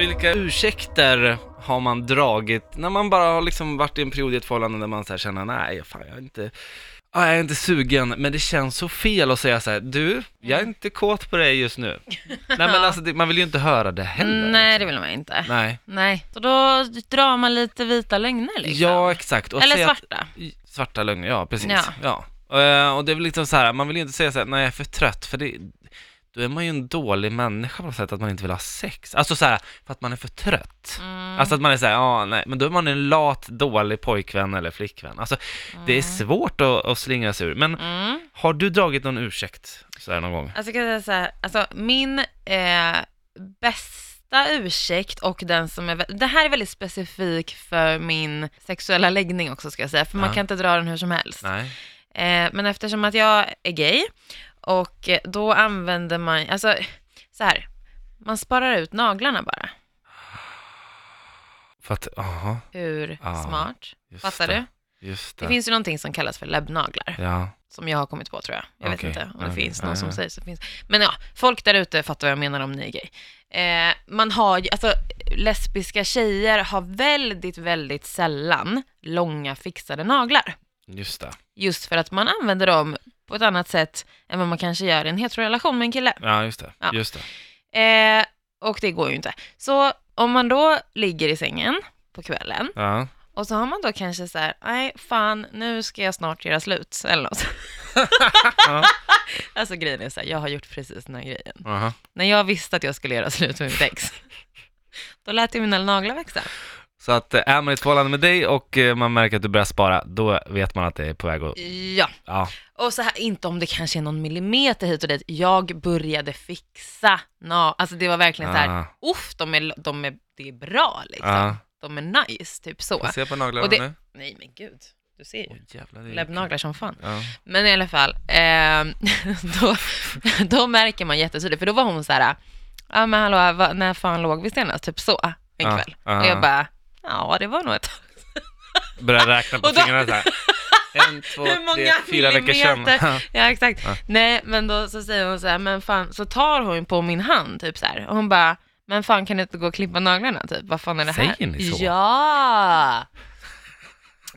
vilka ursäkter har man dragit när man bara har liksom varit i en period i ett förhållande där man så här känner, nej, fan, jag är inte, ah, jag är inte sugen, men det känns så fel att säga så här, du, jag är inte kåt på dig just nu. nej men alltså, det, man vill ju inte höra det heller. Mm, Nej, det vill man inte. Nej. liksom. Nej. Så då drar man lite vita lögner liksom. Ja, exakt. Och Eller säga att- svarta. Svarta lögner, ja precis. Ja. Ja. Eh, och det är väl liksom så här, man vill ju inte säga så här, nej jag är för trött, för det, då är man ju en dålig människa på något sätt, att man inte vill ha sex. Alltså så här, för att man är för trött. Mm. Alltså att man är så här, ja nej, men då är man en lat, dålig pojkvän eller flickvän. Alltså det är svårt att, att slingra sig ur. Men Mm. har du dragit någon ursäkt så här någon gång? Alltså, kan jag säga så här, alltså min eh, bästa ursäkt och den som är, vä- det här är väldigt specifik för min sexuella läggning också ska jag säga, för Ja. man kan inte dra den hur som helst. Nej. Eh, men eftersom att jag är gay och eh, då använder man, alltså så här, man sparar ut naglarna bara. För att, jaha, Hur Ah, smart? just Fattar det. du? just det. Det finns ju någonting som kallas för läbbnaglar, Ja, som jag har kommit på tror jag. Jag Okej. vet inte om det Ja, finns ja, någon som ja. säger så. Finns. Men ja, folk där ute fattar vad jag menar om ni är gay. Eh, man har ju, alltså lesbiska tjejer har väldigt, väldigt sällan långa fixade naglar. just det. Just för att man använder dem på ett annat sätt än vad man kanske gör i en heterorelation med en kille. Ja, just det. Ja. Just det. Eh, och det går ju inte. Så om man då ligger i sängen på kvällen Ja. och så har man då kanske så här, nej fan, nu ska jag snart göra slut eller något. Ja. Alltså grejen är så här, jag har gjort precis den här grejen. Aha. När jag visste att jag skulle göra slut med mitt ex, då lät jag mina naglar växa. Så att eh, är man i ett förhållande med dig och eh, man märker att du börjar spara, då vet man att det är på väg att... Ja, Ja, och så här, inte om det kanske är någon millimeter hit och dit. Jag började fixa naglar, alltså det var verkligen så här, Ah. uff, de är, de är, det är bra liksom. ja. De är nice, typ så. Får se på naglarna Och det- nu. Nej men gud, du ser ju. Åh, jävlar, det är- Läppnaglar som fan. Ja. Men i alla fall, ehm, då, då märker man jättetydligt, för då var hon så här, ja men hallå, va, när fan låg vi senast? Typ så, en Ja, kväll. ja. Och jag bara, ja det var nog ett tag. Börjar räkna på Och då- fingrarna så här. En, två, Hur många tre, fyra veckor sedan. millimeter? Ja exakt. Ja. Nej men då så säger hon så här, men fan, så tar hon på min hand typ så här. Och hon bara, men fan kan du inte gå och klippa naglarna typ? Vad fan är det här? Säger ni så? Ja!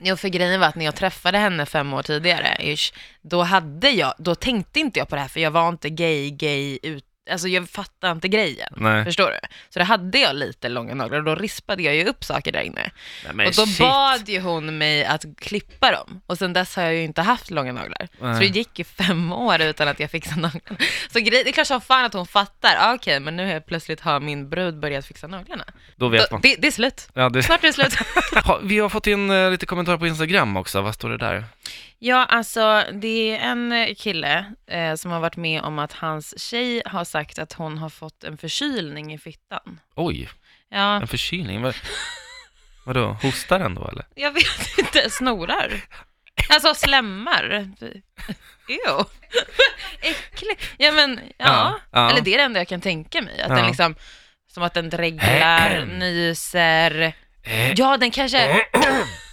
Jo, för grejen var att när jag träffade henne fem år tidigare, ish, då hade jag, då tänkte inte jag på det här för jag var inte gay, gay, ut, alltså jag fattade inte grejen. Nej. Förstår du? Så då hade jag lite långa naglar och då rispade jag ju upp saker där inne. Nej, men och då shit. bad ju hon mig att klippa dem och sen dess har jag ju inte haft långa naglar. Så det Nej. gick ju fem år utan att jag fixade naglarna. Så grej, det är klart som fan att hon fattar, ah, okej men nu helt plötsligt har min brud börjat fixa naglarna. Då vet Då, man. det, det är slut. Ja, det... Snart är det slut. Ha, vi har fått in eh, lite kommentarer på Instagram också, vad står det där? ja, alltså det är en eh, kille eh, som har varit med om att hans tjej har sagt att hon har fått en förkylning i fittan. Oj, Ja, en förkylning. Vad... Vadå, hostar den då eller? jag vet inte. Snorar. Alltså slemmar. Jo. Äckligt. Ja, men ja. Ja, ja. Eller det är det enda jag kan tänka mig. Att Ja. Äh. den liksom, som att den dreglar, nyser. Eh. Ja, den kanske,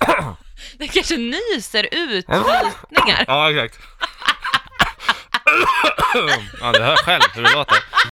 den kanske nyser ut flytningar. Ja, exakt. ja, du hör själv hur det låter.